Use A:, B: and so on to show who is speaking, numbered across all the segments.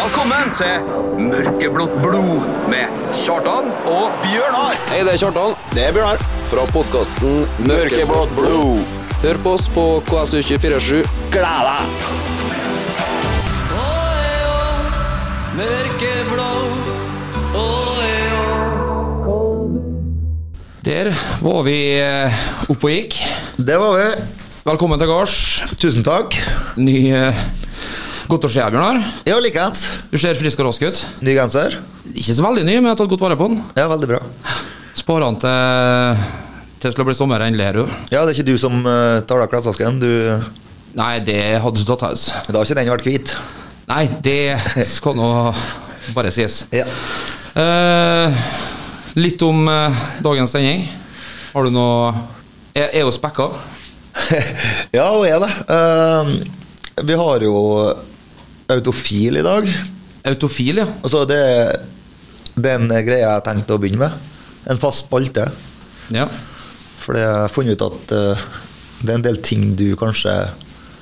A: Velkommen til Mørkeblått blod med Kjartan og
B: Bjørnar
C: Hei, det er Kjartan
B: Det er Bjørnar
C: fra podkasten
B: Mørkeblått blod
C: Hør på oss på KSU247.
B: Gled deg
C: Der var vi eh, oppe og gikk.
D: Det var vi.
C: Velkommen til gards.
D: Tusen takk.
C: Ny eh, Godt å se deg, Bjørnar.
D: Ja, likeens.
C: Du ser frisk og rask ut.
D: Ny genser.
C: Ikke så veldig ny, men jeg har tatt godt vare på den.
D: Ja, veldig bra.
C: Sparer den til til det skal bli sommer endelig her, jo.
D: Ja, det er ikke du som eh, tar av klesvasken. Du, da
C: Nei, det hadde du tatt haus.
D: har ikke den vært hvit.
C: Nei, det skal nå bare sies.
D: Ja.
C: Eh, litt om eh, dagens sending. Har du noe Er, er jo spekka?
D: ja, hun er det. Eh, vi har jo autofil i dag.
C: Autofil, ja.
D: Altså, det er den greia jeg tenkte å begynne med. En fast spalte.
C: ja.
D: For det har jeg funnet ut at eh, det er en del ting du kanskje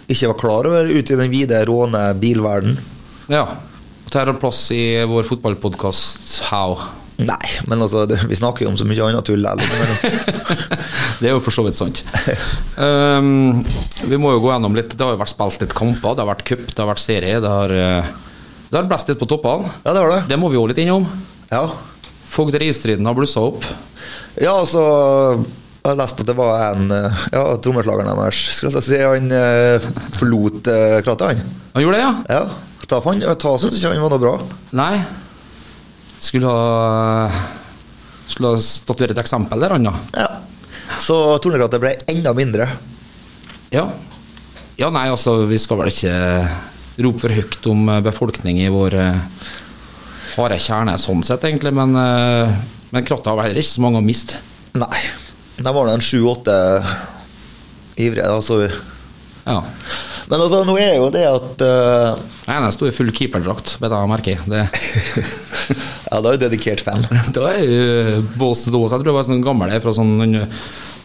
D: ikke var klar over ute i den vide, råne bilverden.
C: Ja. Og tar plass i vår fotballpodkast How.
D: Nei, men altså, det, vi snakker jo om så mye annet tull. Eller,
C: Det er jo for så vidt sant. Um, vi må jo gå gjennom litt. Det har jo vært spilt litt kamper. Det har vært cup, det har vært serie. Det har, eh, det har blåst litt på toppene.
D: ja, det var det.
C: Det må vi òg litt innom.
D: Ja.
C: Fogd Ristriden har blussa opp.
D: ja, altså Jeg har lest at det var en eh, Ja, trommeslageren deres, skal jeg si. Han eh, forlot eh, krattet, han.
C: Han gjorde det, ja?
D: Ja. Ta, for han, ta syns ikke han var noe bra.
C: Nei. Skulle ha Skulle ha statuert et eksempel der, han da.
D: Ja. Så tornekrattet ble enda mindre.
C: Ja. ja, nei, altså, vi skal vel ikke rope for høyt om eh, befolkning i vår eh, harde kjerne, sånn sett, egentlig, men, eh, men kratta har vel heller ikke så mange å miste.
D: Nei. De var nå en sju-åtte ivrige. da, så-
C: Ja.
D: Men altså, nå er jo det at eh,
C: Den ene sto i full keeperdrakt, vet jeg, merker jeg. Det,
D: Ja, da er du dedikert fan.
C: da er jo eh, Bås til Dås. Jeg tror det var sånn gammel jeg, fra sånn en,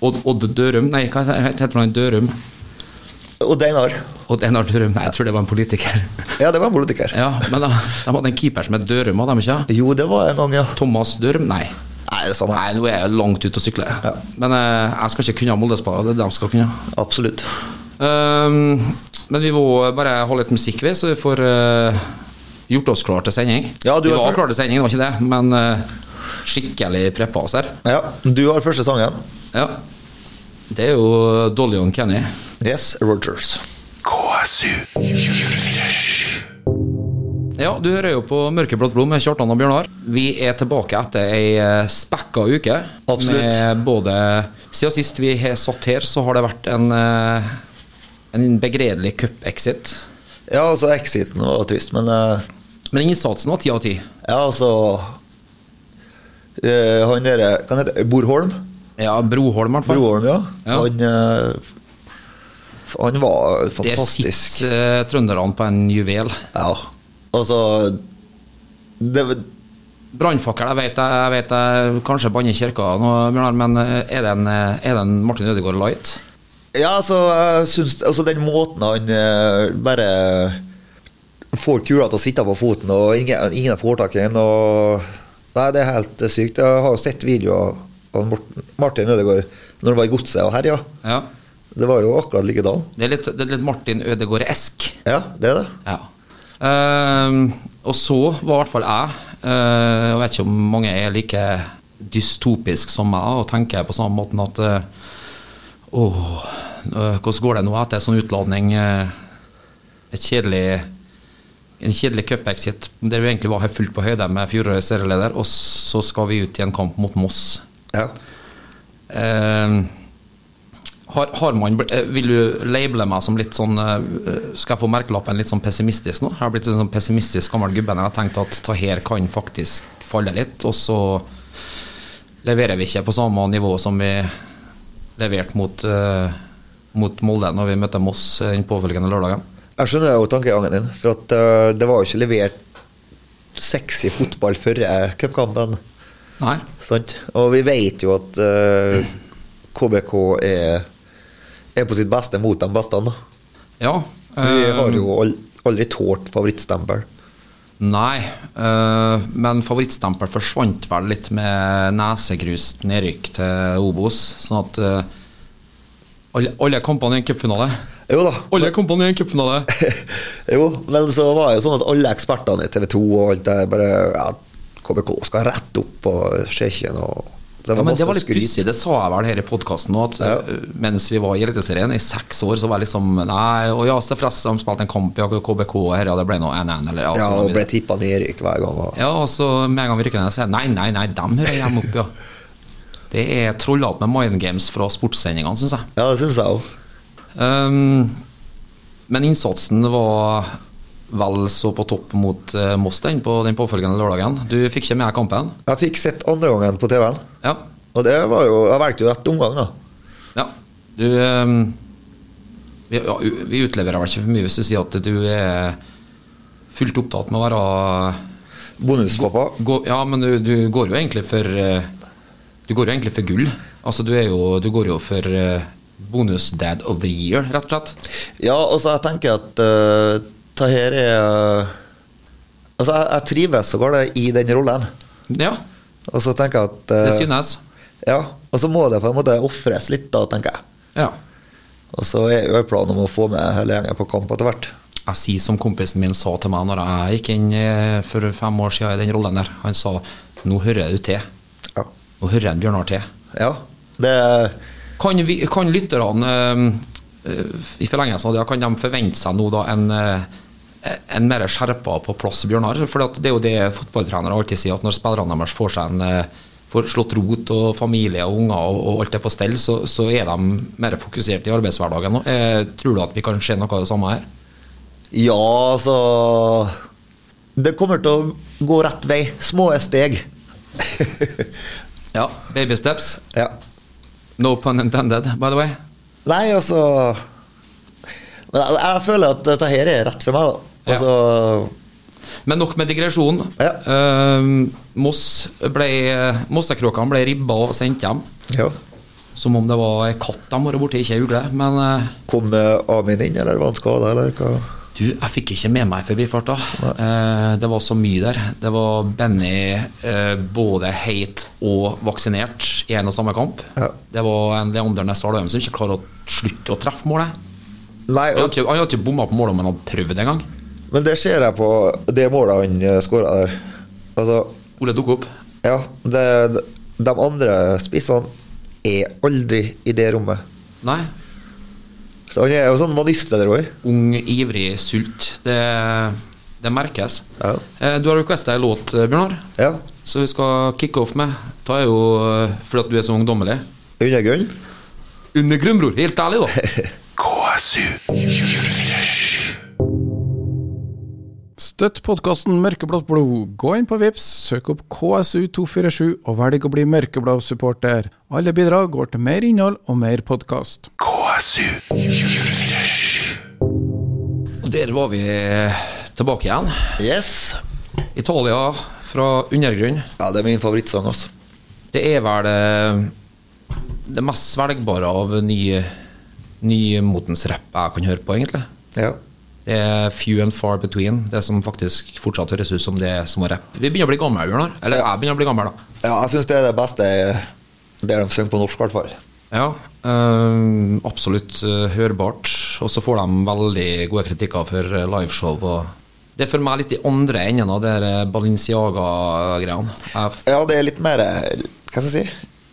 C: Odd, Odd Dørum Nei, hva heter han? Dørum?
D: Og Deinar.
C: Odd Einar Dørum? Nei, jeg tror det var en politiker.
D: Ja, det var en politiker.
C: Ja, men da, de hadde en keeper som het Dørum, hadde de ikke?
D: Jo, det var en gang, ja.
C: Thomas Dørum? Nei.
D: Nei, det samme.
C: Nei, nå er jeg langt ute å sykle. Men eh, jeg skal ikke kunne Moldespada, det er det de skal kunne.
D: Absolutt.
C: Ehm, men vi må bare ha litt musikk, vi, så vi får eh, gjort oss klar til sending.
D: Ja, du
C: vi
D: er
C: var
D: for-
C: klar til sending, det var ikke det, men eh, skikkelig preppa oss her.
D: Ja, du har første sangen.
C: Ja. Det er jo Dolly og Kenny.
D: Yes, Rogers.
B: KSU
C: Ja, du hører jo på Mørkeblått blod med Kjartan og Bjørnar. Vi er tilbake etter ei eh, spekka uke.
D: Absolutt.
C: Med både Siden sist vi har satt her, så har det vært en, eh, en begredelig cup-exit.
D: Ja, altså exiten var trist, men eh,
C: Men innsatsen var ti av ti.
D: ja, altså eh, Han derre Hva heter det? Borholm?
C: Ja, Broholm, i hvert fall.
D: Broholm, ja.
C: Ja.
D: Han, eh, f- han var
C: Der
D: fantastisk.
C: sitter eh, trønderne på en juvel.
D: Ja. Altså det,
C: Brannfakkel, jeg vet jeg, jeg vet jeg kanskje banner i kirka nå, Bjørnar, men eh, er det en, eh, er det en Martin Ødegaard light?
D: Ja, altså, jeg syns Altså, den måten han eh, bare får kula til å sitte på foten, og ingen, ingen får tak i den, og Nei, det er helt eh, sykt. Jeg har jo sett videoer av Morten, Martin Ødegaard når han var i Godset og herja.
C: Ja.
D: Det var jo akkurat likedan.
C: Det er litt, det er litt Martin Ødegaard-esk.
D: Ja, det er det.
C: Ja. Ehm, og så var i hvert fall jeg eh, Jeg vet ikke om mange er like dystopisk som meg og tenker på samme måten at eh, Åh, eh, hvordan går det nå etter en sånn utladning? eh, et kjedelig en kjedelig cupexit der vi egentlig var helt fullt på høyde med fjorårets serieleder, og så skal vi ut i en kamp mot Moss.
D: Ja.
C: Ehm, har, har man, bl- eh, vil du labele meg som litt sånn eh, Skal jeg få merkelappen litt sånn pessimistisk nå? Jeg har blitt en sånn pessimistisk gammel gubbe når jeg har tenkt at Taher kan faktisk falle litt, og så leverer vi ikke på samme nivå som vi leverte mot, eh, mot Molde når vi møtte Moss eh, den påfølgende lørdagen.
D: Jeg skjønner jo tankegangen din, for at eh, det var jo ikke levert sexy fotball før eh, cupkampen.
C: Nei.
D: Sant? Og vi vet jo at eh, KBK er, er på sitt beste mot de beste. Da.
C: Ja.
D: Vi
C: eh,
D: har jo al- aldri tålt favorittstempel.
C: Nei, eh, men favorittstempel forsvant vel litt med nesegrust nedrykk til Obos. Sånn at eh, alle, alle kampene er en cupfinale.
D: Jo da.
C: Alle kampene er en cupfinale!
D: jo, men så var det jo sånn at alle ekspertene i TV 2 og alt det bare ja, KBK skal rett opp og skjer ikke noe. Det
C: Ja, men det var litt
D: skryt.
C: pussig, det sa jeg vel her i podkasten òg, at
D: Ja.
C: eh, mens vi var i Eliteserien i seks år, så var jeg liksom Nei, og ja, Steffres de spilte en kamp i KBK, og her, ja, det ble nå 1-1, eller ja,
D: Ja,
C: sånn
D: og
C: videre.
D: ble tippa nedrykk hver gang. Og,
C: Ja, og så med en gang vi rykker ned, så er det nei, nei, nei, dem hører hjemme opp, ja. Det er trollete med mind games fra sportssendingene, syns jeg.
D: ja, det syns jeg òg.
C: Ehm, men innsatsen var vel så på topp mot eh, Moss den på den påfølgende lørdagen. Du fikk ikke med deg kampen?
D: Jeg fikk sett andre gangen på TV-en,
C: Ja.
D: og det var jo Jeg valgte jo rett omgang, da.
C: ja. Du ehm, vi, ja, u- vi utleverer vel ikke for mye hvis du sier at du er fullt opptatt med å være
D: Bonuspappa.
C: gå, Ja, men du, du går jo egentlig for eh, Du går jo egentlig for gull. Altså, du, er jo, du går jo for eh, bonus dad of the year, rett og slett.
D: Ja, altså, jeg tenker at eh, det her er eh, Altså, jeg, jeg trives så godt i den rollen.
C: Ja,
D: Og så tenker jeg at eh,
C: det synes.
D: Ja, og så må det på en måte ofres litt, da, tenker jeg.
C: Ja.
D: Og så er jo planen om å få med hele gjengen på kamp etter hvert.
C: Jeg sier som kompisen min sa til meg når jeg gikk inn eh, for fem år siden i den rollen der. Han sa nå hører du til.
D: Ja.
C: Nå hører en Bjørnar til.
D: ja. Det
C: Kan, vi, kan lytterne eh, eh, i forlengelsen av det, kan de forvente seg nå da en, eh, en mer skjerpa på plass Bjørnar? For at det er jo det fotballtrenere alltid sier, at når spillerne deres får seg en eh, får slått rot og familie og unger og, og alt er på stell, så, så er de mer fokusert i arbeidshverdagen nå. Eh, tror du at vi kan se noe av det samme her?
D: Ja, altså Det kommer til å gå rett vei. Små steg.
C: Ja. Baby steps.
D: ja.
C: No pun intended, by the way.
D: Nei, altså Men jeg, jeg føler at dette her er rett for meg, da.
C: Ja.
D: Altså
C: Men nok med digresjonen.
D: Ja.
C: Ehm, Moss ble, Mossekråkene ble ribba og sendt hjem.
D: ja.
C: Som om det var ei katt de var borti, ikke ei ugle. Men eh,
D: Kom eh, Amin inn, eller var han skada, eller hva?
C: du, jeg fikk ikke med meg i forbifarta. Eh, det var så mye der. Det var Benny eh, både heit og vaksinert i en og samme kamp.
D: Ja.
C: Det var en Leander Nestal Øyem som ikke klarer å slutte å treffe målet.
D: Nei,
C: Han
D: og,
C: hadde ikke, han hadde ikke bomma på målet om han hadde prøvd engang.
D: men det ser jeg på det målet han skåra der. Altså
C: Ole dukket opp.
D: Ja, det, de andre spissene er aldri i det rommet.
C: Nei.
D: Så han er jo sånn manistleder òg.
C: Ung, ivrig, sult. Det, det merkes.
D: Ja.
C: Eh, du har requesta ei låt, eh, Bjørnar,
D: Ja.
C: så vi skal kicke off med. Ta er jo eh, fordi at du er så ungdommelig.
D: Undergrunn.
C: Under grunnbror, helt ærlig, da.
B: KSU 247.
E: Støtt podkasten Mørkeblått blod. Gå inn på Vips, søk opp KSU247 og velg å bli mørkeblå supporter. Alle bidrag går til mer innhold og mer podkast.
B: KSU 247.
C: Og der var vi eh, tilbake igjen.
D: Yes.
C: Italia fra undergrunn.
D: Ja, det er min favorittsang, altså.
C: Det er vel eh, det mest svelgbare av ny, nymotens rapp jeg kan høre på, egentlig.
D: Ja.
C: Det er few and far between, det som faktisk fortsatt høres ut som det som var rapp. Vi begynner å bli gamle, Bjørnar. Eller jeg begynner å bli gammel, da.
D: ja jeg syns det er det beste der de synger på norsk, i hvert fall.
C: Ja, eh, absolutt eh, hørbart. Og så får de veldig gode kritikker for eh, liveshow. Og det er for meg litt i andre enden av det der, eh, Balenciaga-greiene. Jeg f-
D: Ja, det er litt mer eh, Hva skal jeg si?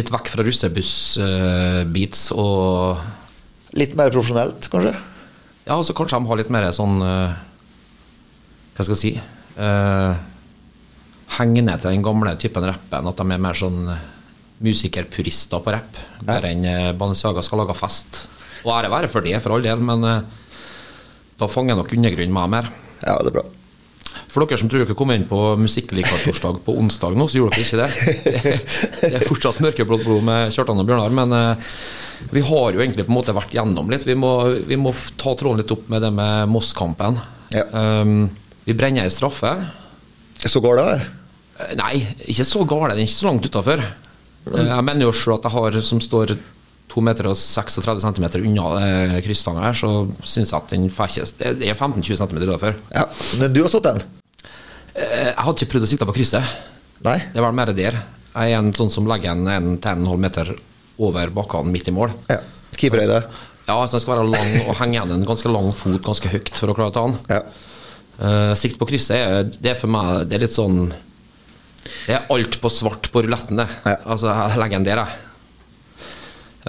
C: Litt vekk fra russebuss-beats og
D: Litt mer profesjonelt, kanskje.
C: Ja, og så kanskje de har litt mer sånn eh, Hva skal jeg si eh, Henge ned til den gamle typen rapp enn at de er mer sånn musikerpurister på rapp. Mer enn eh, Balenciaga skal lage fest. Og ære være for det, for all del, men eh, da fanger nok undergrunnen meg mer.
D: Ja, det er bra.
C: For dere som tror dere kom inn på Musikklikertorsdag på onsdag nå, så gjorde dere ikke det. Det er fortsatt mørkeblått blod med Kjartan og Bjørnar, men eh, vi har jo egentlig på en måte vært gjennom litt. Vi må, vi må f- ta tråden litt opp med det med Moss-kampen.
D: Ja.
C: Um, vi brenner ei straffe.
D: Så går det, vel?
C: Eh, Nei, ikke så gale, den er ikke så langt utafor. Jeg mener jo sjøl at jeg har, som står 2 meter og 36 cm unna eh, krysstanga her, så syns jeg at den får ikke Det er 15-20 cm utafor.
D: Ja. Men du har stått den?
C: Eh, Jeg hadde ikke prøvd å sikte på krysset.
D: Nei?
C: Det var mer der. Jeg er en sånn som legger en, en 10,5 meter over bakkene midt i mål.
D: Ja. Keeperhøyde.
C: Ja, så den skal være lang og henge igjen en ganske lang fot ganske høyt for å klare å ta den.
D: Ja.
C: Eh, sikt på krysset er, det er for meg Det er litt sånn Det er alt på svart på ruletten, det.
D: Ja.
C: Altså, jeg legger den der, jeg.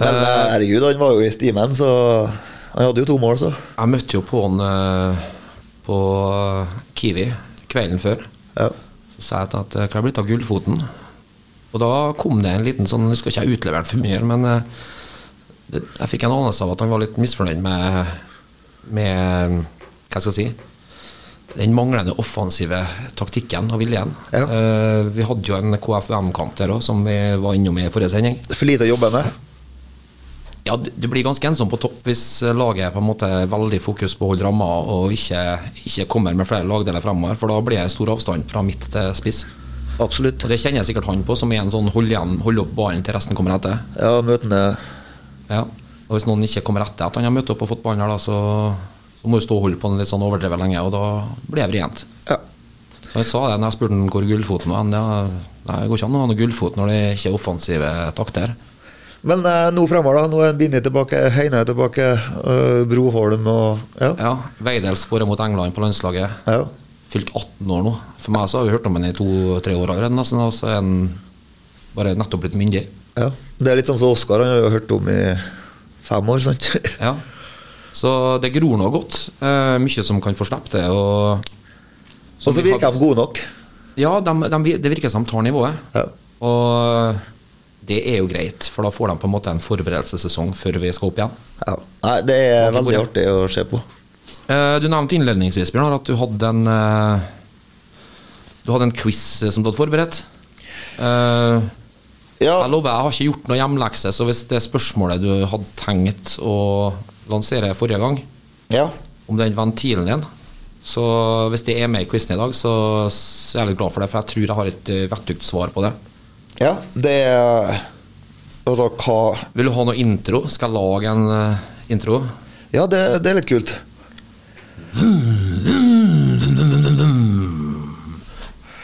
D: Men eh, herregud, han var jo i stimen, så Han hadde jo to mål, så.
C: Jeg møtte jo på han eh, på Kiwi kvelden før.
D: Ja.
C: Så sa jeg til han at eh, hva er blitt av gullfoten? Og da kom det en liten sånn Jeg skal ikke utlevere den for mye, men eh, det, jeg fikk en anelse av at han var litt misfornøyd med, med Hva skal jeg si? Den manglende offensive taktikken og viljen.
D: Ja.
C: Eh, vi hadde jo en KFUM-kamp der òg, som vi var innom i forrige sending.
D: For lite å jobbe med.
C: Ja, du du blir ganske ensom på topp hvis eh, laget på en måte er veldig fokus på å holde ramma og ikke, ikke kommer med flere lagdeler fremover, for da blir det stor avstand fra midt til spiss.
D: Absolutt.
C: Og Det kjenner sikkert han på, som er en sånn hold, igjen, hold opp ballen til resten kommer etter.
D: Ja, møtende
C: Ja. Og Hvis noen ikke kommer etter at han har møtt opp og fått ballen, her da, så, så må du stå og holde på den litt sånn overdrevet lenge, og da blir det vrient.
D: Ja.
C: Så Han sa det når jeg spurte han hvor gullfoten var. Han, ja, nei, det går ikke an å ha noe gullfot når det ikke er offensive takter.
D: Men eh, nå fremover, da. Nå er Binni tilbake, Heine er tilbake, eh, Broholm og Ja.
C: Ja, Veidel skårer mot England på landslaget.
D: ja.
C: fylt 18 år nå. For meg så har vi hørt om han i to-tre år allerede, nesten. Og så er han bare nettopp blitt myndig.
D: ja. Det er litt sånn som Oskar, han har jo hørt om i fem år, sant?
C: Ja. Så det gror nå godt. Eh, mye som kan få slippe til. Og,
D: Og så virker de gode nok.
C: Ja, dem- dem vi- det virker som de tar nivået.
D: Ja.
C: Og det er jo greit, for da får de på en måte en forberedelsessesong før vi skal opp igjen.
D: Ja. Nei, det er
C: Mange
D: veldig
C: gode.
D: artig å se på.
C: Eh, Du nevnte innledningsvis Bjørnar, at du hadde en eh, Du hadde en quiz eh, som du hadde forberedt. Eh,
D: Ja.
C: Jeg lover, jeg har ikke gjort noe hjemlekse, så hvis det spørsmålet du hadde tenkt å lansere forrige gang,
D: ja.
C: om den ventilen din Så hvis det er med i quizen i dag, så, så er jeg litt glad for det, for jeg tror jeg har et eh, vettugt svar på det.
D: Ja, det er Altså, hva
C: Vil du ha noe intro? Skal jeg lage en eh, intro?
D: Ja, det, det er litt kult.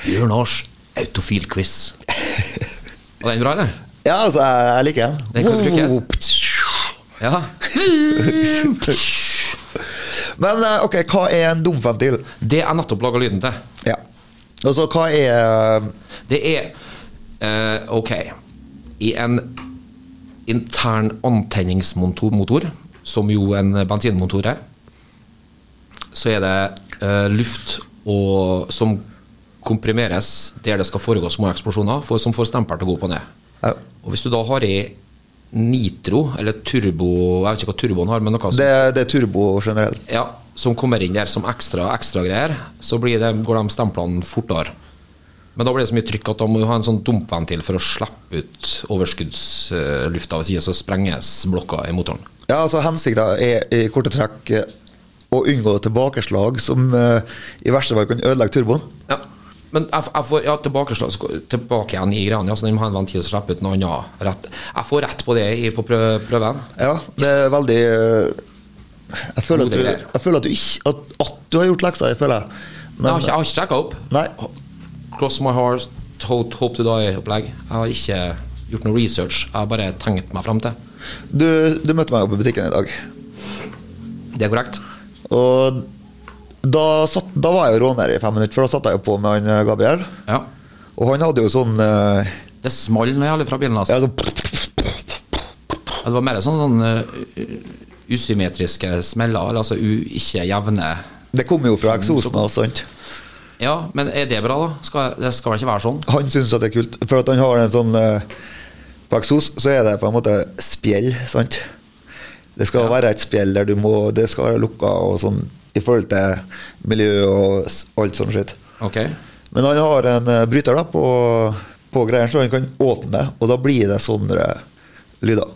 C: Bjørnars autofil-quiz. Var den bra, eller?
D: Ja, altså, jeg, jeg liker den.
C: Den kan brukes. Ja.
D: Men eh, ok, hva er en dumventil?
C: Det jeg nettopp laga lyden til,
D: Ja. Altså, hva er
C: det er eh, Ok. I en intern antenningsmotor, som jo en bensinmotor er, så er det eh, luft og, som komprimeres der det skal foregå små eksplosjoner, for, som får stempel til å gå opp og ned.
D: ja,
C: Og hvis du da har i nitro, eller turbo Jeg vet ikke hva turboen har, men noe som
D: det, det er turbo generelt.
C: ja, som kommer inn der som ekstra ekstra greier, så blir det, går de stemplene fortere. Men da blir det så mye trykk at da må du ha en sånn dumpventil for å slippe ut overskuddslufta ved sida, så sprenges blokka i motoren.
D: Ja, altså Hensikten er i korte trekk eh, å unngå tilbakeslag som eh, i verste fall kan ødelegge turboen.
C: Ja. Men jeg, f- jeg får ja, tilbake, tilbake igjen i greiene, ja, så de må ha en ventil som slipper ut noe annet. Rett. Jeg får rett på det i, på prø prøven.
D: Ja, det er veldig eh, Jeg føler at
C: Gode
D: du,
C: greier.
D: jeg føler at du ikke at, at du har gjort leksa, jeg føler jeg.
C: Men jeg har
D: Men,
C: ikke, jeg har ikke sjekka opp.
D: Nei.
C: Cross my heart, hope, hope to die-opplegg. Jeg har ikke gjort noe research. Jeg har bare tenkt meg fram til.
D: du, du møtte meg jo på butikken i dag.
C: Det er korrekt.
D: Og da, satt, da var jeg jo råner i fem minutter, for da satt jeg jo på med han eh, Gabriel.
C: Ja.
D: Og han hadde jo sånn eh,
C: Det small når jeg gjelder fra bilen hans.
D: ja, sånn
C: Det var mer sånn, sånn uh, usymmetriske smeller, eller altså u ikke jevne
D: Det kom jo fra eksosen og sånt.
C: Ja, men er det bra, da? Skal, det skal vel ikke være sånn?
D: Han syns at det er kult, for at han har en sånn eh, På eksos så er det på en måte spjeld, sant? Det skal være et spjeld der du må Det skal være lukka og sånn i forhold til miljø og s- alt sånt skitt.
C: Ok.
D: Men han har en eh, bryter da på, på greier, så han kan åpne det, og da blir det sånne lyder.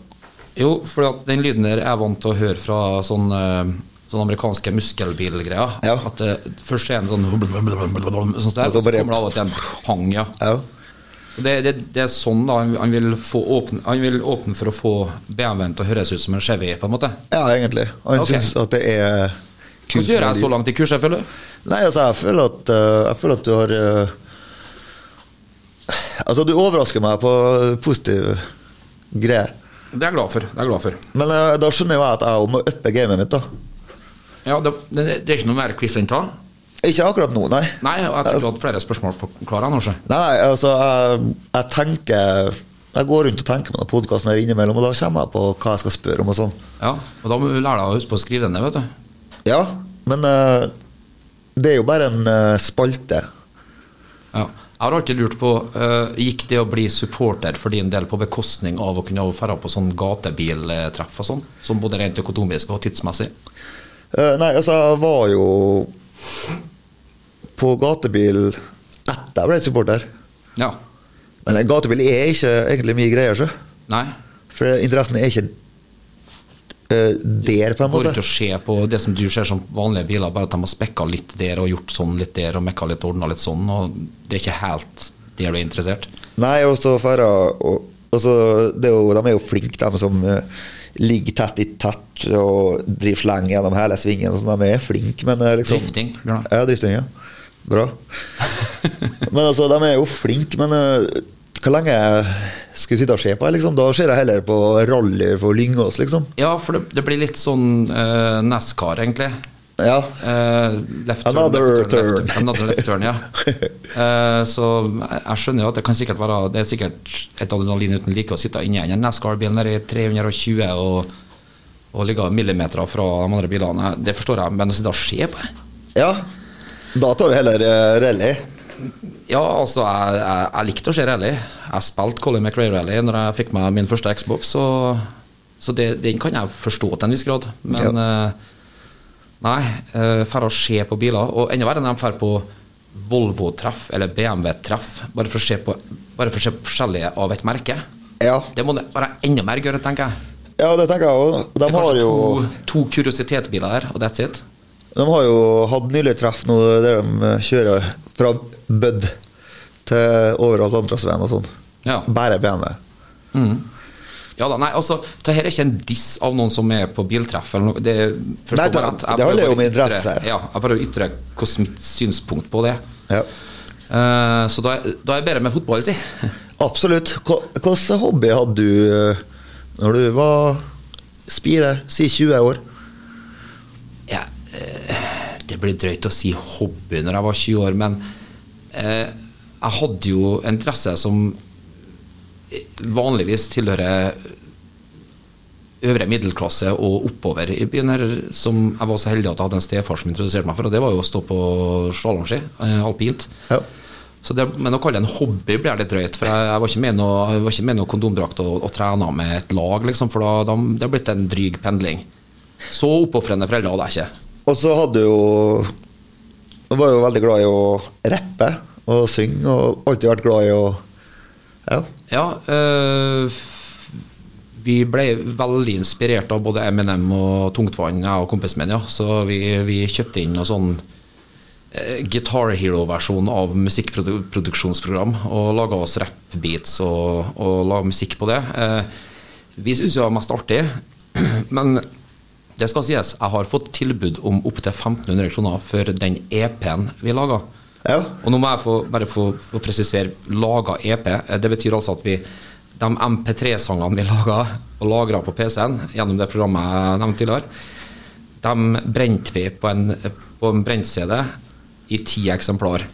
C: Jo, for at den lyden der er jeg vant til å høre fra sånn eh, Sånn amerikanske muskelbilgreier.
D: Ja.
C: At det først er en sånn sånn der,
D: Og så
C: så
D: bare-
C: kommer det av at det er en pang, ja.
D: Ja.
C: Og Det, det, det er sånn da han han vil, få åpne, han vil åpne for å få BMW-en til å høres ut som en Chevy, på en måte.
D: Ja, egentlig. Han
C: Ok.
D: synes syns at det er
C: Hvordan gjør jeg så langt i kurset, føler du?
D: Nei, altså, jeg føler at, eh, jeg føler at du har eh, Altså, du overrasker meg på positive greier.
C: Det er jeg glad for. det er jeg glad for.
D: Men eh, da skjønner jo jeg at jeg også må uppe gamet mitt, da.
C: Ja, det, det, det er ikke noe mer quiz enn ta.
D: Ikke akkurat nå, nei.
C: Nei, og jeg tenker at flere spørsmål på klarer jeg nå, ikke?
D: Nei, nei, altså, jeg, jeg tenker Jeg går rundt og tenker på denne podkasten her innimellom, og da kommer jeg på hva jeg skal spørre om og sånn.
C: Ja, og da må du lære deg å huske på å skrive den ned, vet du.
D: Ja, men eh, det er jo bare en eh, spalte.
C: Ja. Jeg har alltid lurt på, eh, gikk det å bli supporter for din del på bekostning av å kunne dra på sånn gatebiltreff og sånn? Som både rent økonomisk og tidsmessig?
D: Eh, nei, altså, jeg var jo på gatebil etter jeg ble supporter.
C: Ja.
D: Men en gatebil er ikke egentlig mye greier, så.
C: Nei?
D: For interessen er ikke eh, der, på en
C: Går ut
D: måte.
C: og se på det som du ser som vanlige biler, bare at de har spekka litt der og gjort sånn litt der og mekka litt og ordna litt sånn, og det er ikke helt der du er interessert?
D: Nei, og så færre og, og så, det er jo, De er jo flinke, de som eh, ligger tett i tett og driver sleng gjennom hele svingen. Og sånn, de er flinke, men eh, liksom
C: Drifting, Bjørnar.
D: Ja, drifting, ja. Bra. men altså, de er jo flinke, men eh, hvor lenge skal vi sitte og se på? liksom? Da ser jeg heller på rally for Lyngås, liksom.
C: Ja, for det, det blir litt sånn uh, NASCAR, egentlig.
D: Ja.
C: Eh, left turn,
D: Another
C: left turn, left
D: turn.
C: turn. Another left turn, ja. Eh, så jeg jeg skjønner jo at det kan sikkert være Det er sikkert et adrenalin uten like å sitte inni en NASCAR-bil nede i 320 og, og ligge millimeter fra de andre bilene. Det forstår jeg, men å sitte og se på det
D: ja. Da tar du heller eh, rally.
C: Ja, altså, jeg, jeg, jeg likte å se rally. Jeg spilte Colin McRae Rally når jeg fikk meg min første Xbox, så, så det, den kan jeg forstå til en viss grad. Men eh, nei, uh, færre å se på biler. Og enda verre når de drar på Volvo-treff eller BMW-treff, bare for å se på bare for å se på forskjellige av et merke.
D: Ja,
C: Det må det være enda mer gøy, tenker jeg.
D: ja det tenker jeg òg. De
C: Det er
D: har
C: kanskje
D: jo
C: to, to kuriositetbiler her, og that's it.
D: De har jo hatt nylig treff nå der de kjører fra Bødd til overalt Andrasveien og sånn.
C: Ja.
D: Bare BMW.
C: Ja da, nei, altså, det her er ikke en diss av noen som er på biltreff. Eller noe. Det, er- forstå
D: Nei, det-
C: bare at jeg
D: det handler
C: prøver
D: jo om
C: å ytre-
D: interesse her.
C: Ja, jeg prøver å ytre hvordan mitt synspunkt på det er.
D: Ja.
C: Eh, så da, er- da er jeg bedre med fotball, si.
D: Absolutt. Hva- Hvilken hobby hadde du eh, når du var spire, si 20 år?
C: Ja, eh, det blir drøyt å si hobby når jeg var 20 år, men eh, jeg hadde jo en interesse som eh, vanligvis tilhører øvre middelklasse og oppover i byen her, som jeg var så heldig at jeg hadde en stefar som introduserte meg for, og det var jo å stå på slalåmski, eh, alpint.
D: Ja.
C: Så det, men å kalle det en hobby blir litt drøyt, for jeg, jeg var ikke med i noe- jeg var ikke med i noe kondomdrakt og, og trena med et lag, liksom, for da, da, det har blitt en dryg pendling. Så oppofrende foreldre hadde jeg ikke.
D: Og så hadde du jo Du var jo veldig glad i å rappe og synge, og alltid vært glad i å Ja.
C: Ja, eh, f- vi ble veldig inspirert av både Eminem og Tungtvann, jeg og kompisen min, ja. Så vi, vi kjøpte inn noe sånn eh, Guitar Hero-versjon av musikkproduksjonsprogram og laga oss rap-beats og, og laga musikk på det. Eh, vi syntes jo det var mest artig, men det skal sies, jeg har fått tilbud om opptil 1500 kroner for den EP-en vi laga.
D: Ja.
C: Og nå må jeg få, bare få, få presisere laga EP. Eh, Det betyr altså at vi de MP3-sangene vi laga og lagra på PC-en gjennom det programmet jeg nevnte tidligere, de brente vi på en, på en brent-CD i ti eksemplar.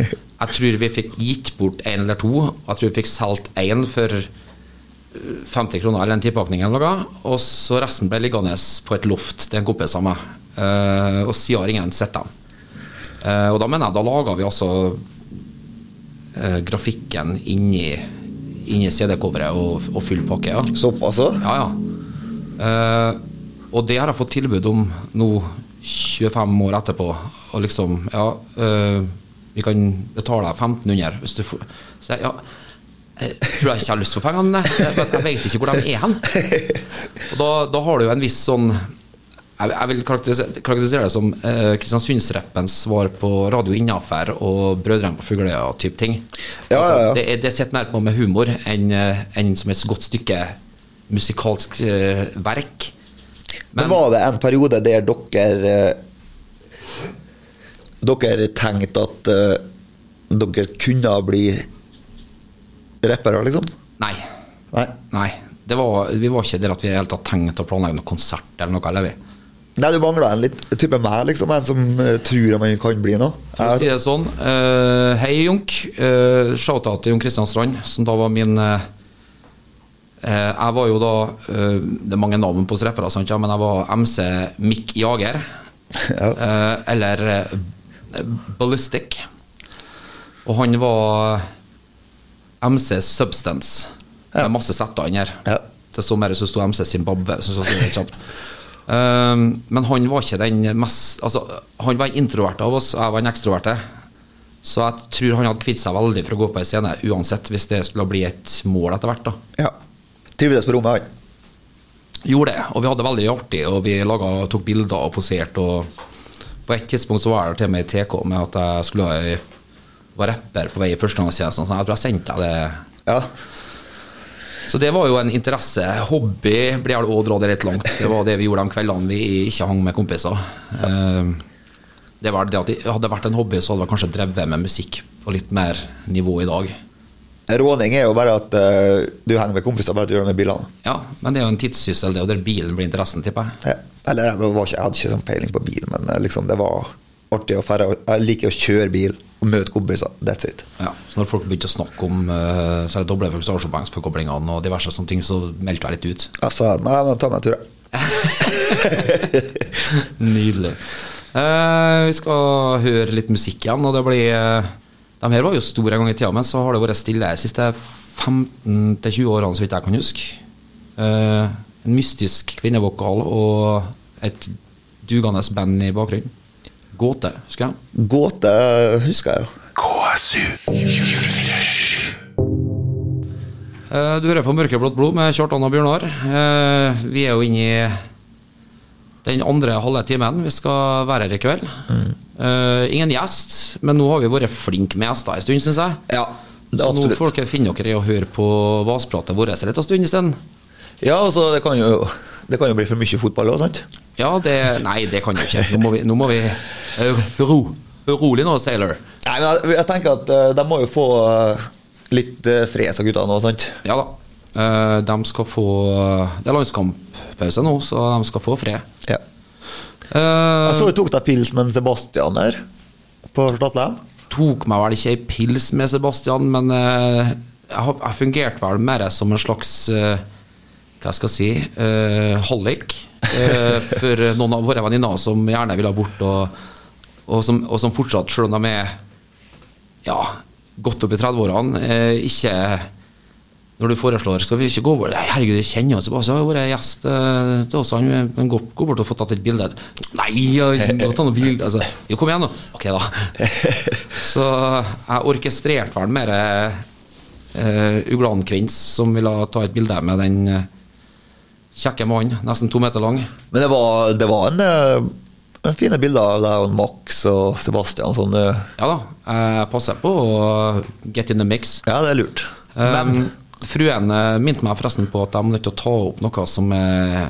C: Jeg tror vi fikk gitt bort én eller to. og Jeg tror vi fikk solgt én for eh, 50 kroner eller en tipakning. Eller noe, og så resten ble liggende på et loft til en kompis av meg. Eh, og siden har ingen sett dem. Eh, og da mener jeg, da laga vi altså eh, grafikken inni, inni CD-coveret og, og full pakke. Ja.
D: Såpass òg?
C: Ja, ja. Eh, og det har jeg fått tilbud om nå 25 år etterpå. Og liksom, ja eh, Vi kan betale deg 1500 hvis du får Så jeg, ja, jeg Eh, tror jeg ikke har lyst på pengene. nei. Jeg, vet- jeg vet ikke hvor de er hen. Og da, da har du jo en viss sånn jeg, jeg vil karakterisere, karakterisere det som eh, Kristiansundsrappens svar på Radio Innafor og Brødrene på Fugløya-type ting. Altså,
D: Ja, ja, ja.
C: Det, er- det sitter mer på med humor enn eh, enn som et godt stykke musikalsk eh, verk.
D: Men var det en periode der dere eh, dere tenkte at eh, dere kunne bli rappere, liksom?
C: Nei.
D: Nei.
C: Nei. Det var, vi var ikke der at vi i det hele tatt tenkte å planlegge noen konsert eller noe. eller vi.
D: Nei, du mangla en litt type meg, liksom. En som eh, tror at man kan bli noe.
C: For å si
D: Jeg,
C: det sånn. eh, hei, Junk. Uh, Shout-out til Jon Kristian Strand, som da var min eh, eh, Jeg var jo da eh, Det er mange navn på oss rappere, sant, ja, men jeg var MC Mick Jager.
D: Ja.
C: eh, eller eh, Ballistic. Og han var MC Substance. Det
D: Ja.
C: er masse setter inni her.
D: Ja.
C: Det sto mer som sto MC Zimbabwe. Som sto litt kjapt. Ehm, men han var ikke den mest altså, Han var en introvert av oss, og jeg var en ekstroverte. Så jeg tror han hadde kvitt seg veldig for å gå på en scene, uansett, hvis det skulle bli et mål etter hvert. da
D: ja. Trivdes på rommet, han.
C: Gjorde det, og vi hadde det veldig artig, og vi laget, tok bilder og poserte. Og på et tidspunkt så var jeg der til og med i TK med at jeg skulle være rapper på vei i førstegangstjenesten. og sånn. Jeg tror jeg sendte deg det.
D: Ja.
C: Så det var jo en interesse. Hobby ble jeg òg dratt litt langt. Det var det vi gjorde de kveldene vi ikke hang med kompiser. Eh, Det var det at det Hadde det vært en hobby, så hadde jeg kanskje drevet med musikk på litt mer nivå i dag.
D: Råning er jo bare at eh, du henger med kompiser, bare at du gjør det med bilene.
C: Ja, men det er jo en tidssyssel, det, og der bilen blir interessen, tipper jeg.
D: Ja. Eller jeg, var ikke, jeg hadde ikke sånn peiling på bil, men eh, liksom, det var artig å ferde. Jeg liker å kjøre bil og møte kompiser. That's it.
C: Ja, så når folk begynte å snakke om eh, så er det doble frustrasjonspoengsforkoblingene og diverse sånne ting, så meldte jeg litt ut.
D: Jeg sa nei, men ta meg en tur. jeg».
C: Nydelig. Eh, vi skal høre litt musikk igjen, og det blir eh, De her var jo store en gang i tida, men så har det vært stille de siste 15-20 årene, så vidt jeg kan huske. Eh, en mystisk kvinnevokal og et dugende band i bakgrunnen. Gåte, husker jeg.
D: Gåte husker jeg jo.
B: KSU 247.
C: Eh, Du hører på Mørkeblått blod med Kjartan og Bjørnar. Eh, Vi er jo inne i den andre halve timen. Vi skal være her i kveld.
D: Mm.
C: Eh, Ingen gjest, men nå har vi vært flinke med gjester en stund, syns jeg.
D: Ja, det er
C: Så nå
D: absolutt.
C: får dere finne dere i å høre på vaspratet vårt en liten stund isteden.
D: Ja, altså, det kan jo, det kan jo bli for mye fotball òg, sant?
C: Ja, det Nei, det kan jo ikke. Nå må vi, nå må vi eh, ro. Rolig nå, Sailor.
D: Nei, men jeg, jeg tenker at eh, de må jo få eh, litt uh, fres av gutta nå, sant?
C: Ja da. Eh, De skal få Det er landskamppause nå, så de skal få fred.
D: Ja.
C: Eh,
D: Jeg så du tok deg pils med en Sebastian der, på Statlem.
C: tok meg vel ikke ei pils med Sebastian, men eh, jeg, har- jeg fungerte vel mer som en slags eh, Hva skal jeg si uh, hallik eh, for noen av våre venninner som gjerne ville bort, og, og, som, og som fortsatt, selv om de er ja, godt opp i 30-årene, eh, ikke når du foreslår skal vi ikke gå bort Nei, Herregud, jeg kjenner jo Sebastian, han har vært gjest eh, til oss. Han kan gå, gå bort og få tatt et bilde. Nei, jeg kan ikke ta noe bilde. Altså, jo, kom igjen, nå. Ok, da. Så jeg orkestrerte vel mer uh, Uglankvinns som ville ta et bilde med den eh, kjekke mannen, nesten to meter lang.
D: Men det var, det var en, eh, en fine bilder av deg og Max og Sebastian. Sånn, eh,
C: Ja da, jeg passer på å get in the mix.
D: ja, det er lurt. Men
C: Um, fruen eh, minte meg forresten på at jeg må nødt til å ta opp noe som eh,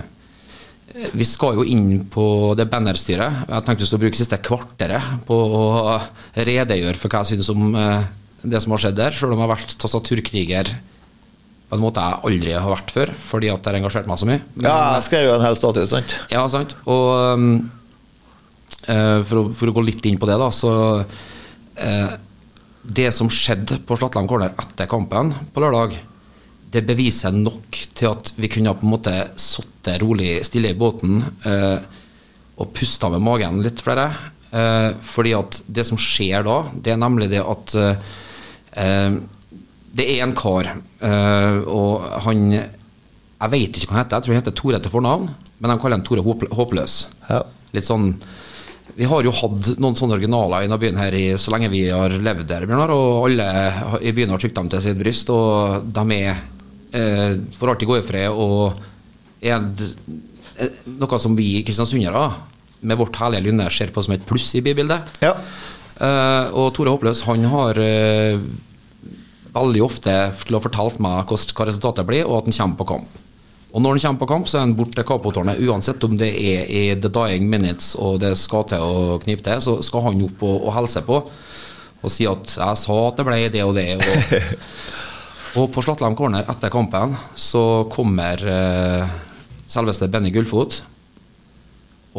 C: Vi skal jo inn på det bannerstyret. Jeg tenkte vi skulle bruke siste kvarteret på å redegjøre for hva jeg synes om eh, det som har skjedd der, selv om jeg har vært tastaturkriger på en måte jeg aldri har vært før, fordi at det har engasjert meg så mye. Men-
D: ja, jeg skrev jo en hel status, sant?
C: ja, sant. Og um, eh, for, å, for å gå litt inn på det, da, så eh, Det som skjedde på Slatland Corner etter kampen på lørdag, det beviser nok til at vi kunne ha på en måte sittet rolig stille i båten eh, og pusta med magen litt flere. Eh, fordi at det som skjer da, det er nemlig det at eh, eh, det er en kar, eh, og han Jeg vet ikke hva han heter, jeg tror han heter Tore til fornavn, men de kaller han Tore Håp- Håpløs.
D: Ja.
C: Litt sånn Vi har jo hatt noen sånne originaler i byen her i, så lenge vi har levd der, Bjørnar, og alle har- i byen har trykt dem til sitt bryst, og de er eh, for alltid gå i fred, og er d- eh, noe som vi kristiansundere, med vårt herlige lynne, ser på som et pluss i bybildet.
D: Ja.
C: Eh, og Tore Håpløs han har eh, veldig ofte til å fortalt meg hvordan- hva resultatet blir, og at han kommer på kamp. Og når han kommer på kamp, så er han borte til Capotårnet. Uansett om det er i the dying minutes og det skal til å knipe til, så skal han opp og, og hilse på og si at 'jeg sa at det ble det og det'. Og, og på Slatlam corner etter kampen så kommer eh, selveste Benny Gullfot.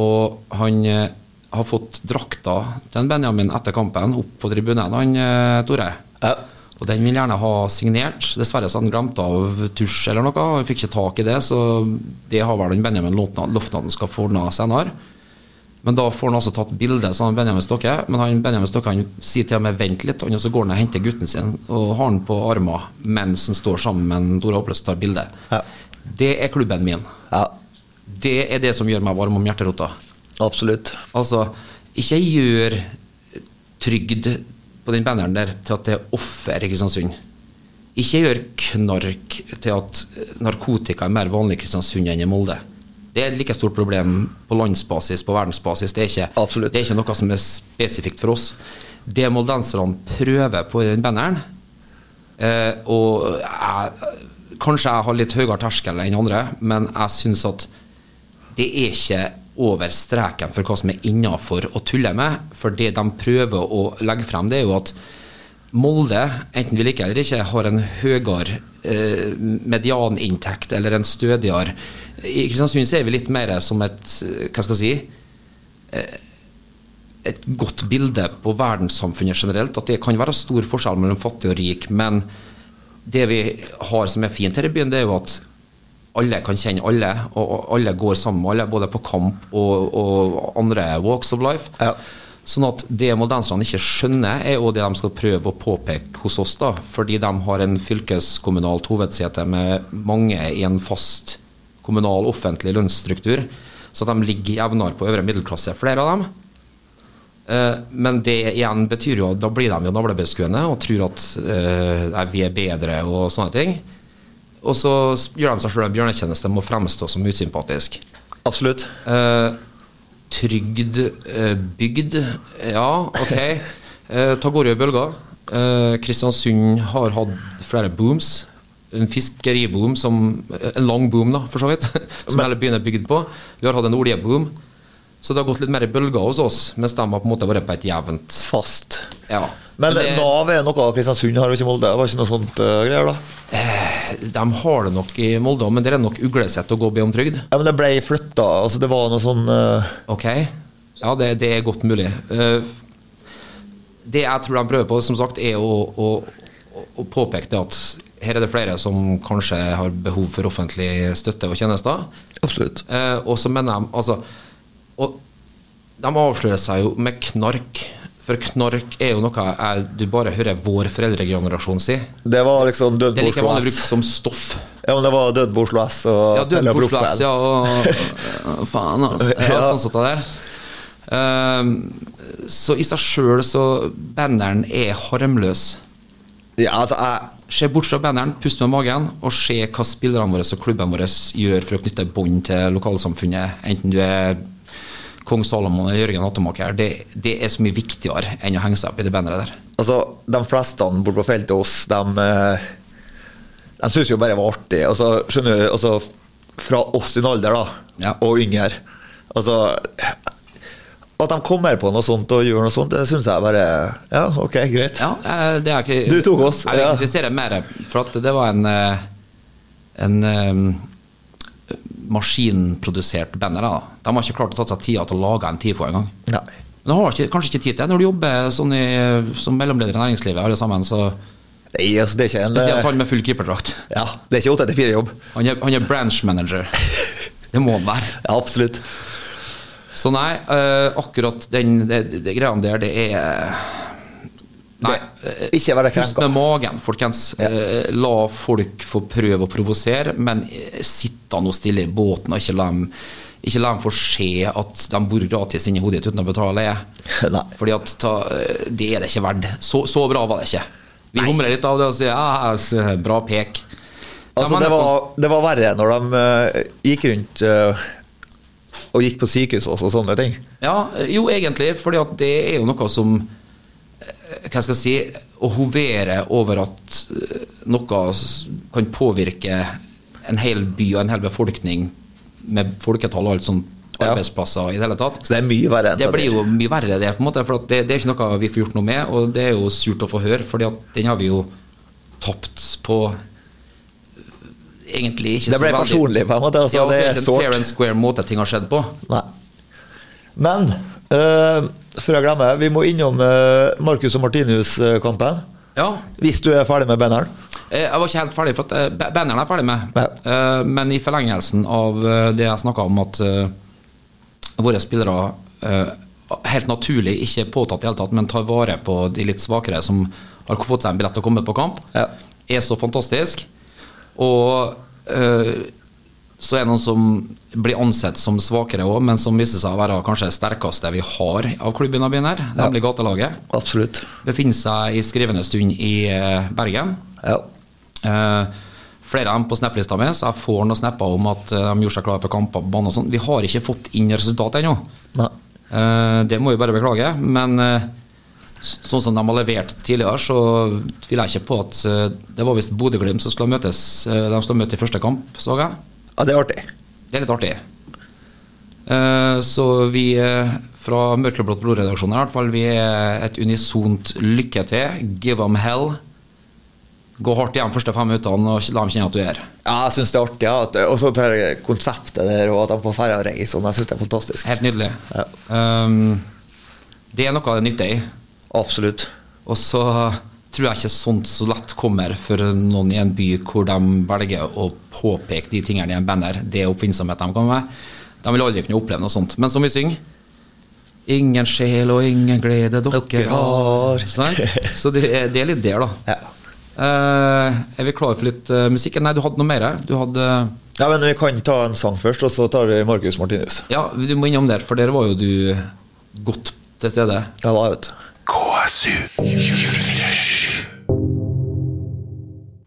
C: Og han eh, har fått drakta til en Benjamin etter kampen opp på tribunen, han eh, Tore.
D: Ja.
C: Og den vil gjerne ha signert. Dessverre så har han glemt av tusj eller noe. Han fikk ikke tak i det, så det har vel den Benjamin Loftan Loftan skal få ordna senere. Men da får han altså tatt bilde av Benjamin Stokke. Men han, Benjamin Stokke han sier til og med 'vent litt', han, og så går han og henter gutten sin og har han på armen mens han står sammen med Dora Oppløs og tar bilde.
D: Ja.
C: Det er klubben min.
D: ja,
C: Det er det som gjør meg varm om hjerterota.
D: absolutt.
C: Altså, ikke gjør trygd på den banneren der til at det er offer i Kristiansund. Ikke gjør knark til at narkotika er mer vanlig i Kristiansund enn i Molde. Det er et like stort problem på landsbasis, på verdensbasis. Det er ikke,
D: Absolutt.
C: det er ikke noe som er spesifikt for oss. Det moldenserne prøver på den banneren, Eh, og jeg, kanskje jeg har litt høyere terskel enn andre, men jeg syns at det er ikke over streken for hva som er innafor å tulle med. For det de prøver å legge frem, det er jo at Molde, enten vi liker det eller ikke, har en høyere eh, medianinntekt eller en stødigere I Kristiansund så er vi litt mer som et eh, Hva skal jeg si? et godt bilde på verdenssamfunnet generelt. At det kan være stor forskjell mellom fattig og rik. Men det vi har som er fint her i byen, det er jo at alle kan kjenne alle, og og alle går sammen med alle, både på kamp og, og andre walks of life.
D: Ja.
C: Sånn at det moldenserne ikke skjønner, er jo det de skal prøve å påpeke hos oss, da. Fordi de har en fylkeskommunalt hovedsete med mange i en fast kommunal offentlig lønnsstruktur. Så de ligger jevnere på øvre middelklasse, flere av dem. Eh, Men det igjen betyr jo at da blir de jo navlebeskuende og tror at eh, nei, vi er bedre og sånne ting. Og så s- gjør de seg sjøl en bjørnetjeneste med å fremstå som usympatisk.
D: Absolutt.
C: Eh, trygd eh, bygd, ja, ok. Eh, ta Gorøy i bølger. Eh, Kristiansund har hatt flere booms. En fiskeriboom, som, eh, en lang boom, da, for så vidt, som hele byen er bygd på. Vi har hatt en oljeboom. Så det har gått litt mer i bølger hos oss, mens de har på en måte vært på et jevnt
D: Fast.
C: ja.
D: Men
C: det-
D: Nav er noe Kristiansund har, og ikke Molde. Det var ikke noe sånt eh, greier, da.
C: de har det nok i Molde òg, men det er nok uglesett å gå og be om trygd.
D: Ja, Men det ble flytta. Altså, det var noe sånn eh,
C: Ok, ja det, det er godt mulig. Eh, Det jeg tror de prøver på, som sagt, er å, å, å påpeke det at her er det flere som kanskje har behov for offentlig støtte og tjenester.
D: Absolutt.
C: Eh, og så mener de altså, og De avslører seg jo med knark. For knark er jo noe jeg, du bare hører vår foreldregenerasjon si.
D: Det var liksom død
C: Det er
D: på
C: like
D: Oslo
C: vanlig brukt
D: S.
C: som stoff.
D: Ja, men det var død på Oslo S og
C: Ja, døden på Oslo
D: Teleproffen.
C: S, ja. Og, faen, altså. Ja,
D: Ja.
C: sånn satt det der. Ehm, så i seg sjøl så Banneren er harmløs.
D: Ja, altså, jeg,
C: Se bort fra banneren, pust med magen, og se hva spillerne våre og klubbene våre gjør for å knytte bånd til lokalsamfunnet, enten du er kong Salomon eller Jørgen Hattemaker. Det, det er så mye viktigere enn å henge seg opp i det banneret der.
D: altså, de fleste borte på feltet hos de, eh, de syns jo bare det var artig. Altså, skjønner du, altså, fra oss sin alder da,
C: Ja.
D: og yngre. Altså, at de kommer på noe sånt og gjør noe sånt, det syns jeg bare Ja, ok, greit.
C: Ja, eh, det er ikke
D: Du tok oss,
C: Jeg vil
D: ja.
C: kritisere mer, for at det var en eh, En eh, maskinprodusert banner. Da. De har ikke klart å ta seg tida til å lage en TIFO engang.
D: Nei.
C: Men de har ikke, kanskje ikke tid til det når du jobber sånn i, som mellomleder i næringslivet, alle sammen. Så
D: Nei, altså, det er ikke en
C: spesielt
D: eh,
C: han med full keeperdrakt.
D: Ja, det er ikke 8 4 jobb
C: Han er, han er branch manager. Det må han være.
D: Ja, absolutt.
C: Så nei, eh, akkurat den det, det greia der, det er Nei. eh,
D: Ikke være
C: Pust
D: krenka.
C: med magen, folkens. Eh, La folk få prøve å provosere, men eh, sitt da nå stille i båten og ikke la dem ikke la dem få se at de bor gratis inni hodet ditt uten å betale leie.
D: Nei.
C: Fordi at ta, eh, det er det ikke verdt. Så, så bra var det ikke. Vi humrer litt av det og sier ja, s- bra pek. De
D: Altså, det,
C: menneskene-
D: var, det var verre når de eh, gikk rundt eh, og gikk på sykehus også, og sånne ting.
C: Ja, jo egentlig, fordi at det er jo noe som eh, Hva skal jeg si Å hovere over at eh, noe s- kan påvirke en hel by og en hel befolkning med folketall og alt sånn,
D: Ja.
C: arbeidsplasser i det hele tatt.
D: Så det er mye verre enn
C: Det blir jo mye verre, det. på en måte, for at det, det er ikke noe vi får gjort noe med, og det er jo surt å få høre, for den har vi jo tapt på eh, egentlig ikke
D: Det ble personlig, på en måte, altså,
C: ja, og så
D: det
C: er
D: er
C: det ikke
D: sårt.
C: en fair and square måte ting har skjedd på.
D: Nei. Men eh, før jeg glemmer, vi må innom eh, Marcus og Martinus-kampen.
C: Ja,
D: Hvis du er ferdig med banneren.
C: eh, jeg var ikke helt ferdig, for at eh, ba- banneren er jeg ferdig med. Eh, Men i forlengelsen av eh, det jeg snakka om, at eh, våre spillere eh, helt naturlig ikke er påtatt i det hele tatt, men tar vare på de litt svakere som har fått seg en billett og kommet på kamp.
D: Ja.
C: er så fantastisk. Og eh, så er det noen som blir ansett som svakere òg, men som viser seg å være kanskje det sterkeste vi har av klubben av byen her, nemlig gatelaget.
D: Absolutt.
C: Befinner seg i skrivende stund i eh, Bergen.
D: Ja.
C: Eh, flere av dem på snapplista mi, så jeg får noen snapper om at eh, de gjorde seg klare for kamper på banen og sånn. Vi har ikke fått inn resultat ennå.
D: Nei.
C: Eh, det må vi bare beklage, men eh, s- sånn som de har levert tidligere, så tviler jeg ikke på at eh, Det var visst Bodø-Glimt som skulle møtes eh, de skulle møte i første kamp, så jeg.
D: Ja, det er artig.
C: Det er litt artig. Eh, så vi eh, fra Mørkeblått blod-redaksjonen i hvert fall, vi er et unisont lykke til. Give them hell. Gå hardt igjen første fem minuttene og la dem kjenne at du er her.
D: Ja, jeg syns det er artig. Ja. at- Og så det konseptet der, og at de får ferie og reise. og sånn. Jeg syns det er fantastisk.
C: Helt nydelig.
D: Ja.
C: Ehm, det er noe av det nyttige i.
D: Absolutt.
C: Og så tror jeg ikke sånt så lett kommer for noen i en by hvor de velger å påpeke de tingene i en banner. Det er oppfinnsomhet de kommer med. De vil aldri kunne oppleve noe sånt. Men som vi synger Ingen sjel og ingen glede dere,
D: Dere
C: har.
D: har.
C: Sant? Så det er, det er litt der, da.
D: Ja.
C: Eh, er vi klare for litt eh, musikk? Nei, du hadde noe mer? eh? Du hadde
D: Ja, men Vi kan ta en sang først, og så tar vi Marcus Martinus.
C: Ja, du må innom der, for der var jo du godt til stede.
D: Ja, da, vet du.
B: KSU 247.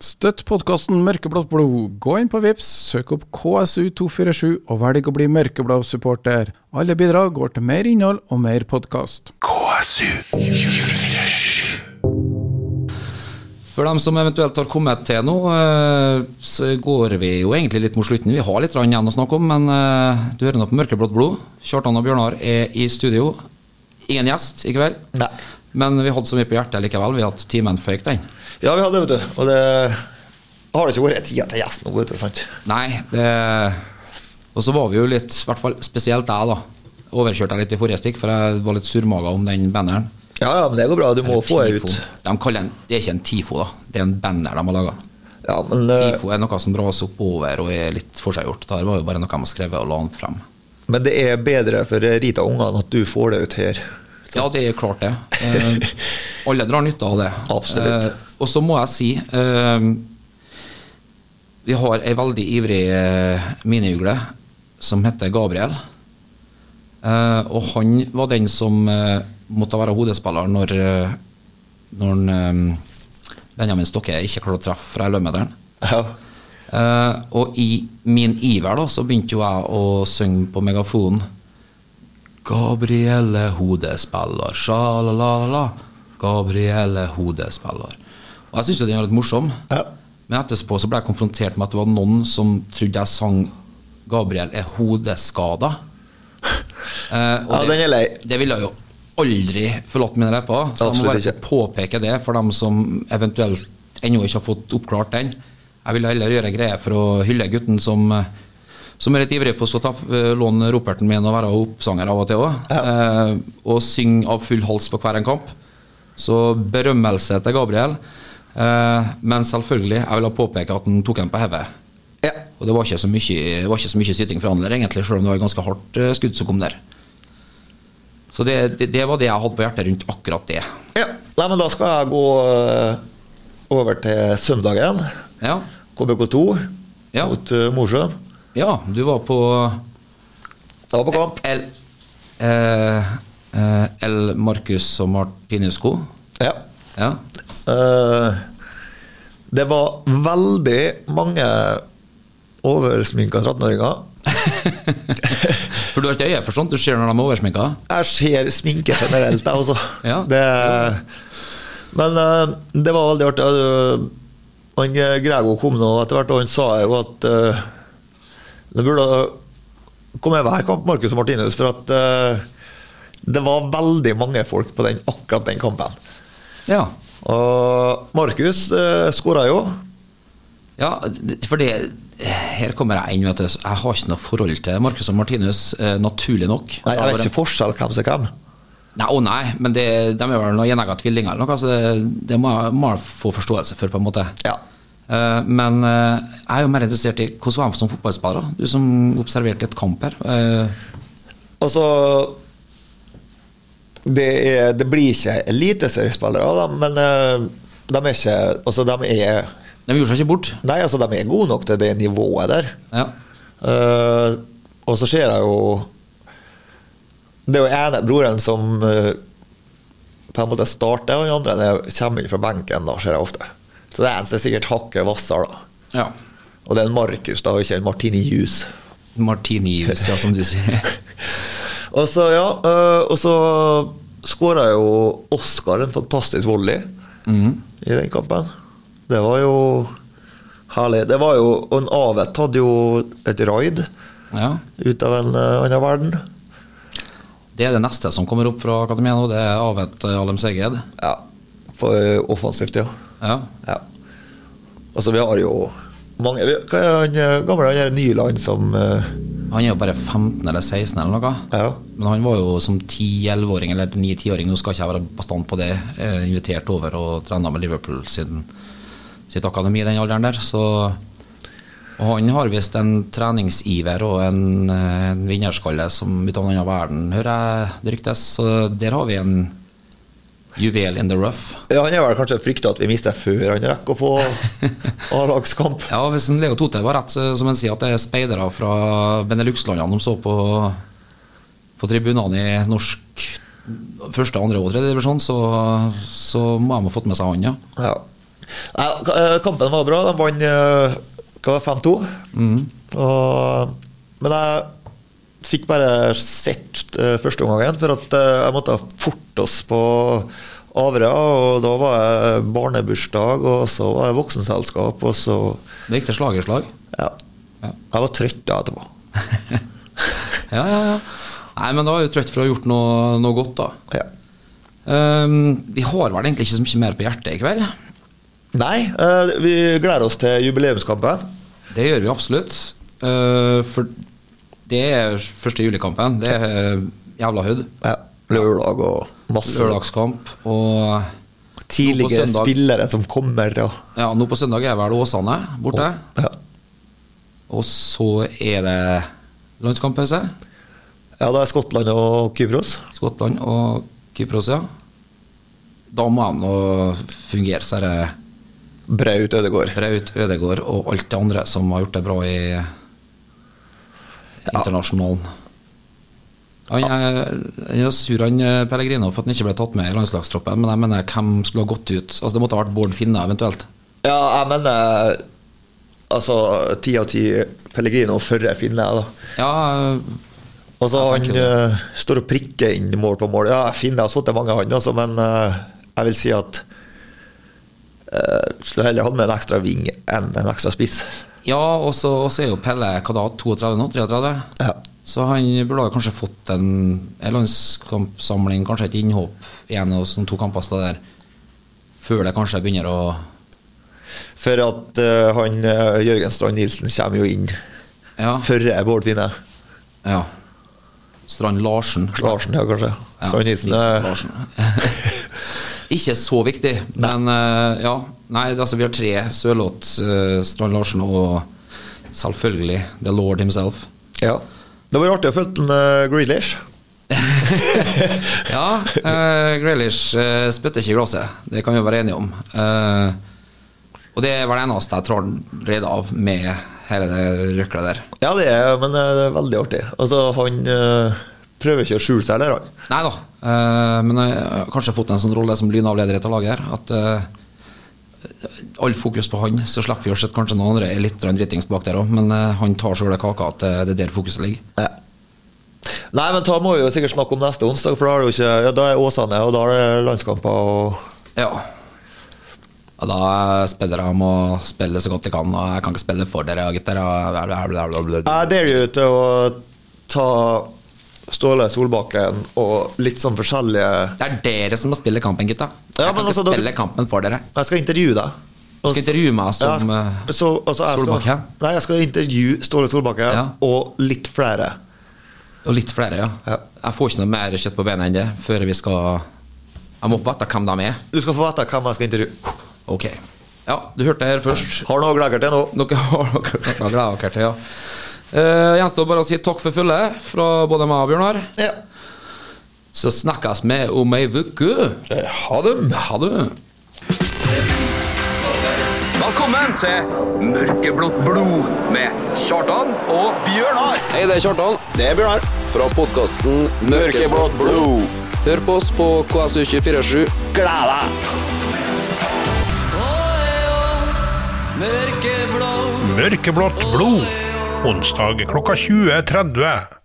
E: Støtt podkasten Mørkeblått blod. Gå inn på Vips, søk opp KSU247 og velg å bli mørkeblå-supporter. Alle bidrag går til mer innhold og mer podkast.
B: KSU 247.
C: For dem som eventuelt har kommet til nå, eh, så går vi jo egentlig litt mot slutten. Vi har litt grann igjen å snakke om, men eh, du hører nå på Mørkeblått blod. Kjartan og Bjørnar er i studio. Ingen gjest i kveld.
D: Nei.
C: Men vi hadde så mye på hjertet likevel. Vi hadde timen føyk den.
D: Ja, vi hadde det, vet du. Og det har det ikke vært tida til gjesten nå, vet du. sant?
C: Nei, det Og så var vi jo litt, i hvert fall spesielt jeg, da. Overkjørte jeg litt i forrige stikk, for jeg var litt surmaga om den banneren.
D: Ja, ja, men det går bra. Du må få det ut.
C: Tifo. De kaller den, det er ikke en TIFO, da. Det er en banner de har laga.
D: Ja, men eh,
C: TIFO er noe som dras opp over og er litt forseggjort. Det var jo bare noe de har skrevet og la den frem.
D: Men det er bedre for Rita og ungene at du får det ut her.
C: Ja, det er klart det. Eh, alle drar nytte av det.
D: Absolutt.
C: Eh, og så må jeg si eh, Vi har ei veldig ivrig eh, miniugle som heter Gabriel. Eh, og han var den som eh, måtte være hodespiller når, eh, når han, eh, Benjamin Stokke ikke klarte å treffe fra 11-meteren.
D: Ja.
C: Eh, og i min iver da, så begynte jo jeg å synge på megafonen. Gabrielle hodespiller, sjalalala. Gabrielle hodespiller. Og jeg syntes jo den var litt morsom.
D: Ja.
C: Men etterpå så ble jeg konfrontert med at det var noen som trodde jeg sang 'Gabriel er hodeskada'. Eh, og
D: Ja,
C: det-
D: den er lei.
C: Det ville jeg jo aldri forlatt mine lepper. Så jeg må
D: Absolutt
C: bare
D: ikke.
C: påpeke det for dem som eventuelt ennå ikke har fått oppklart den. Jeg vil heller gjøre greier for å hylle gutten som eh, som er litt ivrig på å slå ta, eh, låne roperten min og være oppsanger av og til òg. Eh, og synge av full hals på hver en kamp. Så berømmelse til Gabriel. Eh, men selvfølgelig, jeg vil ha påpeke at han tok den på hodet.
D: ja.
C: Og det var ikke så mye, det var ikke så mye syting fra han der, egentlig, selv om det var et ganske hardt eh, skudd som kom der. Så det, det, det var det jeg hadde på hjertet rundt akkurat det.
D: ja. Nei, men da skal jeg gå eh, over til søndagen.
C: Ja,
D: KBK2
C: Ja.
D: mot eh, Mosjøen.
C: ja du var på
D: Jeg var på kamp.
C: El, eh, eh, El Marcus og Martinusco.
D: Ja.
C: Ja.
D: Eh, det var veldig mange oversminka 13-åringer.
C: For du har ikke øye for sånt? Du ser når de er oversminka?
D: Jeg ser sminke generelt, jeg også.
C: Ja.
D: Det, men eh, det var veldig artig. Jeg, Han eh, Grego kom nå etter hvert, og han sa jo at eh, det burde komme hver kamp, Marcus og Martinus, for at eh, det var veldig mange folk på den, akkurat den kampen.
C: Ja.
D: Og Markus uh, skåra jo.
C: ja, d- for det Her kommer jeg inn, vet du. Jeg har ikke noe forhold til Marcus og Martinus, eh, naturlig nok.
D: Nei, jeg
C: Da var
D: vet
C: de-
D: ikke forskjell hvem som hvem.
C: Nei, å nei, men det, de er vel noen gjenegga tvillinger eller noe, så det, det må jeg- må jeg få forståelse for, på en måte.
D: Ja.
C: Eh, men eh, jeg er jo mer interessert i hvordan var han som fotballspiller, da? du som observerte et kamp her. eh,
D: Altså Det, er, det blir ikke eliteseriespillere, av dem, men eh, de er ikke Altså, de er
C: de gjorde seg ikke bort.
D: Nei, altså, de er gode nok til det nivået der.
C: Ja.
D: Eh, og så ser jeg jo Det er jo ene broren som eh, på en måte starter, og den andre det kommer inn fra benken, da, ser jeg ofte. Så det er en som er sikkert hakket hvassere, da.
C: ja.
D: Og det er en Markus, da, og ikke en Martini Jus.
C: Martinius, ja, som du sier.
D: Og så, ja, eh, og så skåra jo Oskar en fantastisk volley
C: Mhm.
D: i den kampen. Det var jo herlig. Det var jo Og en Avet hadde jo et raid
C: Ja.
D: ut av en eh, annen verden.
C: Det er det neste som kommer opp fra akademiet nå, det er Avet eh, Alem Seged.
D: Ja. For eh, offensivt, ja.
C: Ja.
D: ja. Altså, vi har jo mange vi, Hva er han eh, gamle han der Nyland som eh,
C: Han er jo bare 15 eller 16 eller noe.
D: Ja.
C: Men han var jo som 10-11-åring eller 9-10-åring, nå skal ikke jeg være bastant på det, eh, invitert over og trena med Liverpool siden sitt akademi i den alderen der. Så, og han har visst en treningsiver og en, eh, en vinnerskalle som ut av en annen verden, hører jeg det ryktes. Så der har vi en juvel in the rough.
D: ja, Han er vel kanskje frykta at vi mister før han rekker å få A-lagskamp.
C: Ja, hvis en Leo Tote var rett, så- som en sier at det er speidere fra Benelux-landene de så på, på tribunene i norsk første, andre og tredje divisjon, så, så må de ha fått med seg han, ja.
D: Ja. Nei, k- eh, kampen var bra. De vant eh, hva var det, 5-2.
C: Mm.
D: Og, men jeg fikk bare sett eh, første omgangen, for at eh, jeg måtte forte oss på Averøya. Og da var jeg barnebursdag, og så var jeg voksenselskap, og så
C: Det gikk til slag i slag.
D: Ja.
C: Ja.
D: Jeg var trøtt da etterpå.
C: Ja, ja, ja. Nei, men da er jeg jo trøtt for å ha gjort noe, noe godt, da.
D: Ja.
C: Ehm, vi har vel egentlig ikke så mye mer på hjertet i kveld.
D: Nei, eh, vi gleder oss til jubileumskampen.
C: Det gjør vi absolutt. Eh, for det er første julekampen. Det er eh, jævla hood.
D: Ja. Lørdag og masse
C: Lørdagskamp og
D: tidligere
C: søndag.
D: spillere som kommer. Og,
C: Ja, nå på søndag er vel Åsane borte.
D: ja.
C: Og så er det landskamppause.
D: Ja, det er Skottland og Kypros.
C: Skottland og Kypros, ja. Da må de nå fungere, så er det
D: Braut Ødegård.
C: Braut, Ødegård og alt det andre som har gjort det bra i internasjonalen. Han er, han er sur, han eh, Pellegrino, for at han ikke ble tatt med i landslagstroppen. Men jeg mener, hvem skulle ha gått ut? Altså, det måtte ha vært Bård Finne, eventuelt.
D: Ja, jeg mener altså ti av ti Pellegrino før jeg finner jeg, da.
C: Ja,
D: Og så
C: Jeg
D: han
C: tenker
D: eh, står og prikker inn mål på mål. Ja, jeg finner jeg har sittet mange han, altså, men eh, jeg vil si at uh, Skulle heller hatt med en ekstra ving enn en ekstra spiss.
C: ja og så og så er jo Pelle hva da, 32 nå? 33?
D: Ja.
C: Så han burde ha kanskje fått en, en landskampsamling, kanskje et innhopp igjen og sånn to kamper stå der, før det kanskje begynner å
D: For at eh, han eh, Jørgen Strand Nilsen kommer jo inn
C: Ja.
D: før jeg Bård vinner.
C: ja. Strand Larsen.
D: Larsen, ja, kanskje.
C: Ja,
D: Strand Nilsen. eh,
C: Larsen. Ikke så viktig, men eh, ja. Nei, det er altså, vi har tre Sørloth, eh, Strand Larsen og selvfølgelig The Lord himself.
D: ja. Det var artig å følge uh, Grealish.
C: Ja, uh, Grealish eh, spytter ikke i glasset. Det kan vi være enige om. Eh, og det er vel det eneste jeg trår redd av med hele det røkla der.
D: Ja, det er, men eh, det er veldig artig. Altså, han eh, prøver ikke å skjule seg, eller han?
C: Nei da, eh, men jeg har kanskje fått en sånn rolle som lynavleder i dette laget her. At uh, all fokus på han, så slipper vi å se at kanskje noen andre er litt grann dritings bak der òg, men eh, han tar sjøl kaka at eh, det er der fokuset ligger.
D: Nei, men da må vi jo sikkert snakke om neste onsdag, for da er det jo ikke Ja, da er Åsane, og da er det landskamper og
C: Ja. Og da eh, spiller jeg om å spille så godt jeg kan, og jeg kan ikke spille for dere, gutter. Og bla, bla, bla, bla, bla.
D: Jeg deler jo til å ta Ståle Solbakken og litt sånn forskjellige
C: Det er dere som må spille kampen, gutta.
D: Ja,
C: Jeg kan
D: men
C: ikke
D: altså, dere-
C: spille kampen for dere.
D: Jeg skal intervjue deg.
C: Du skal intervjue meg
D: Ja, jeg
C: som
D: skal-
C: eh,
D: så, altså, jeg
C: Solbakken?
D: Skal, nei, jeg skal intervjue Ståle Solbakken
C: Ja.
D: og litt flere.
C: Og litt flere, ja.
D: Ja.
C: Jeg får ikke noe mer kjøtt på beina enn det før vi skal Jeg må vite hvem de er.
D: Du skal få vite hvem jeg skal intervjue.
C: Ok. Ja, du hørte det her først.
D: Har noe å glede deg til nå.
C: Dere har dere noe å glede dere til, ja. Eh, gjenstår bare å si takk for følget fra både meg og Bjørnar.
D: Ja.
C: Så snakkes vi om ei uke.
D: Eh, Ha det.
C: Ha det.
A: Velkommen til Mørkeblått blod med Kjartan og Bjørnar.
F: Hei, det er Kjartan. Det er Bjørnar. Fra podkasten Mørkeblått blod. Hør på oss på KSU247.
B: Mørkeblått blod. Onsdag klokka 20.30.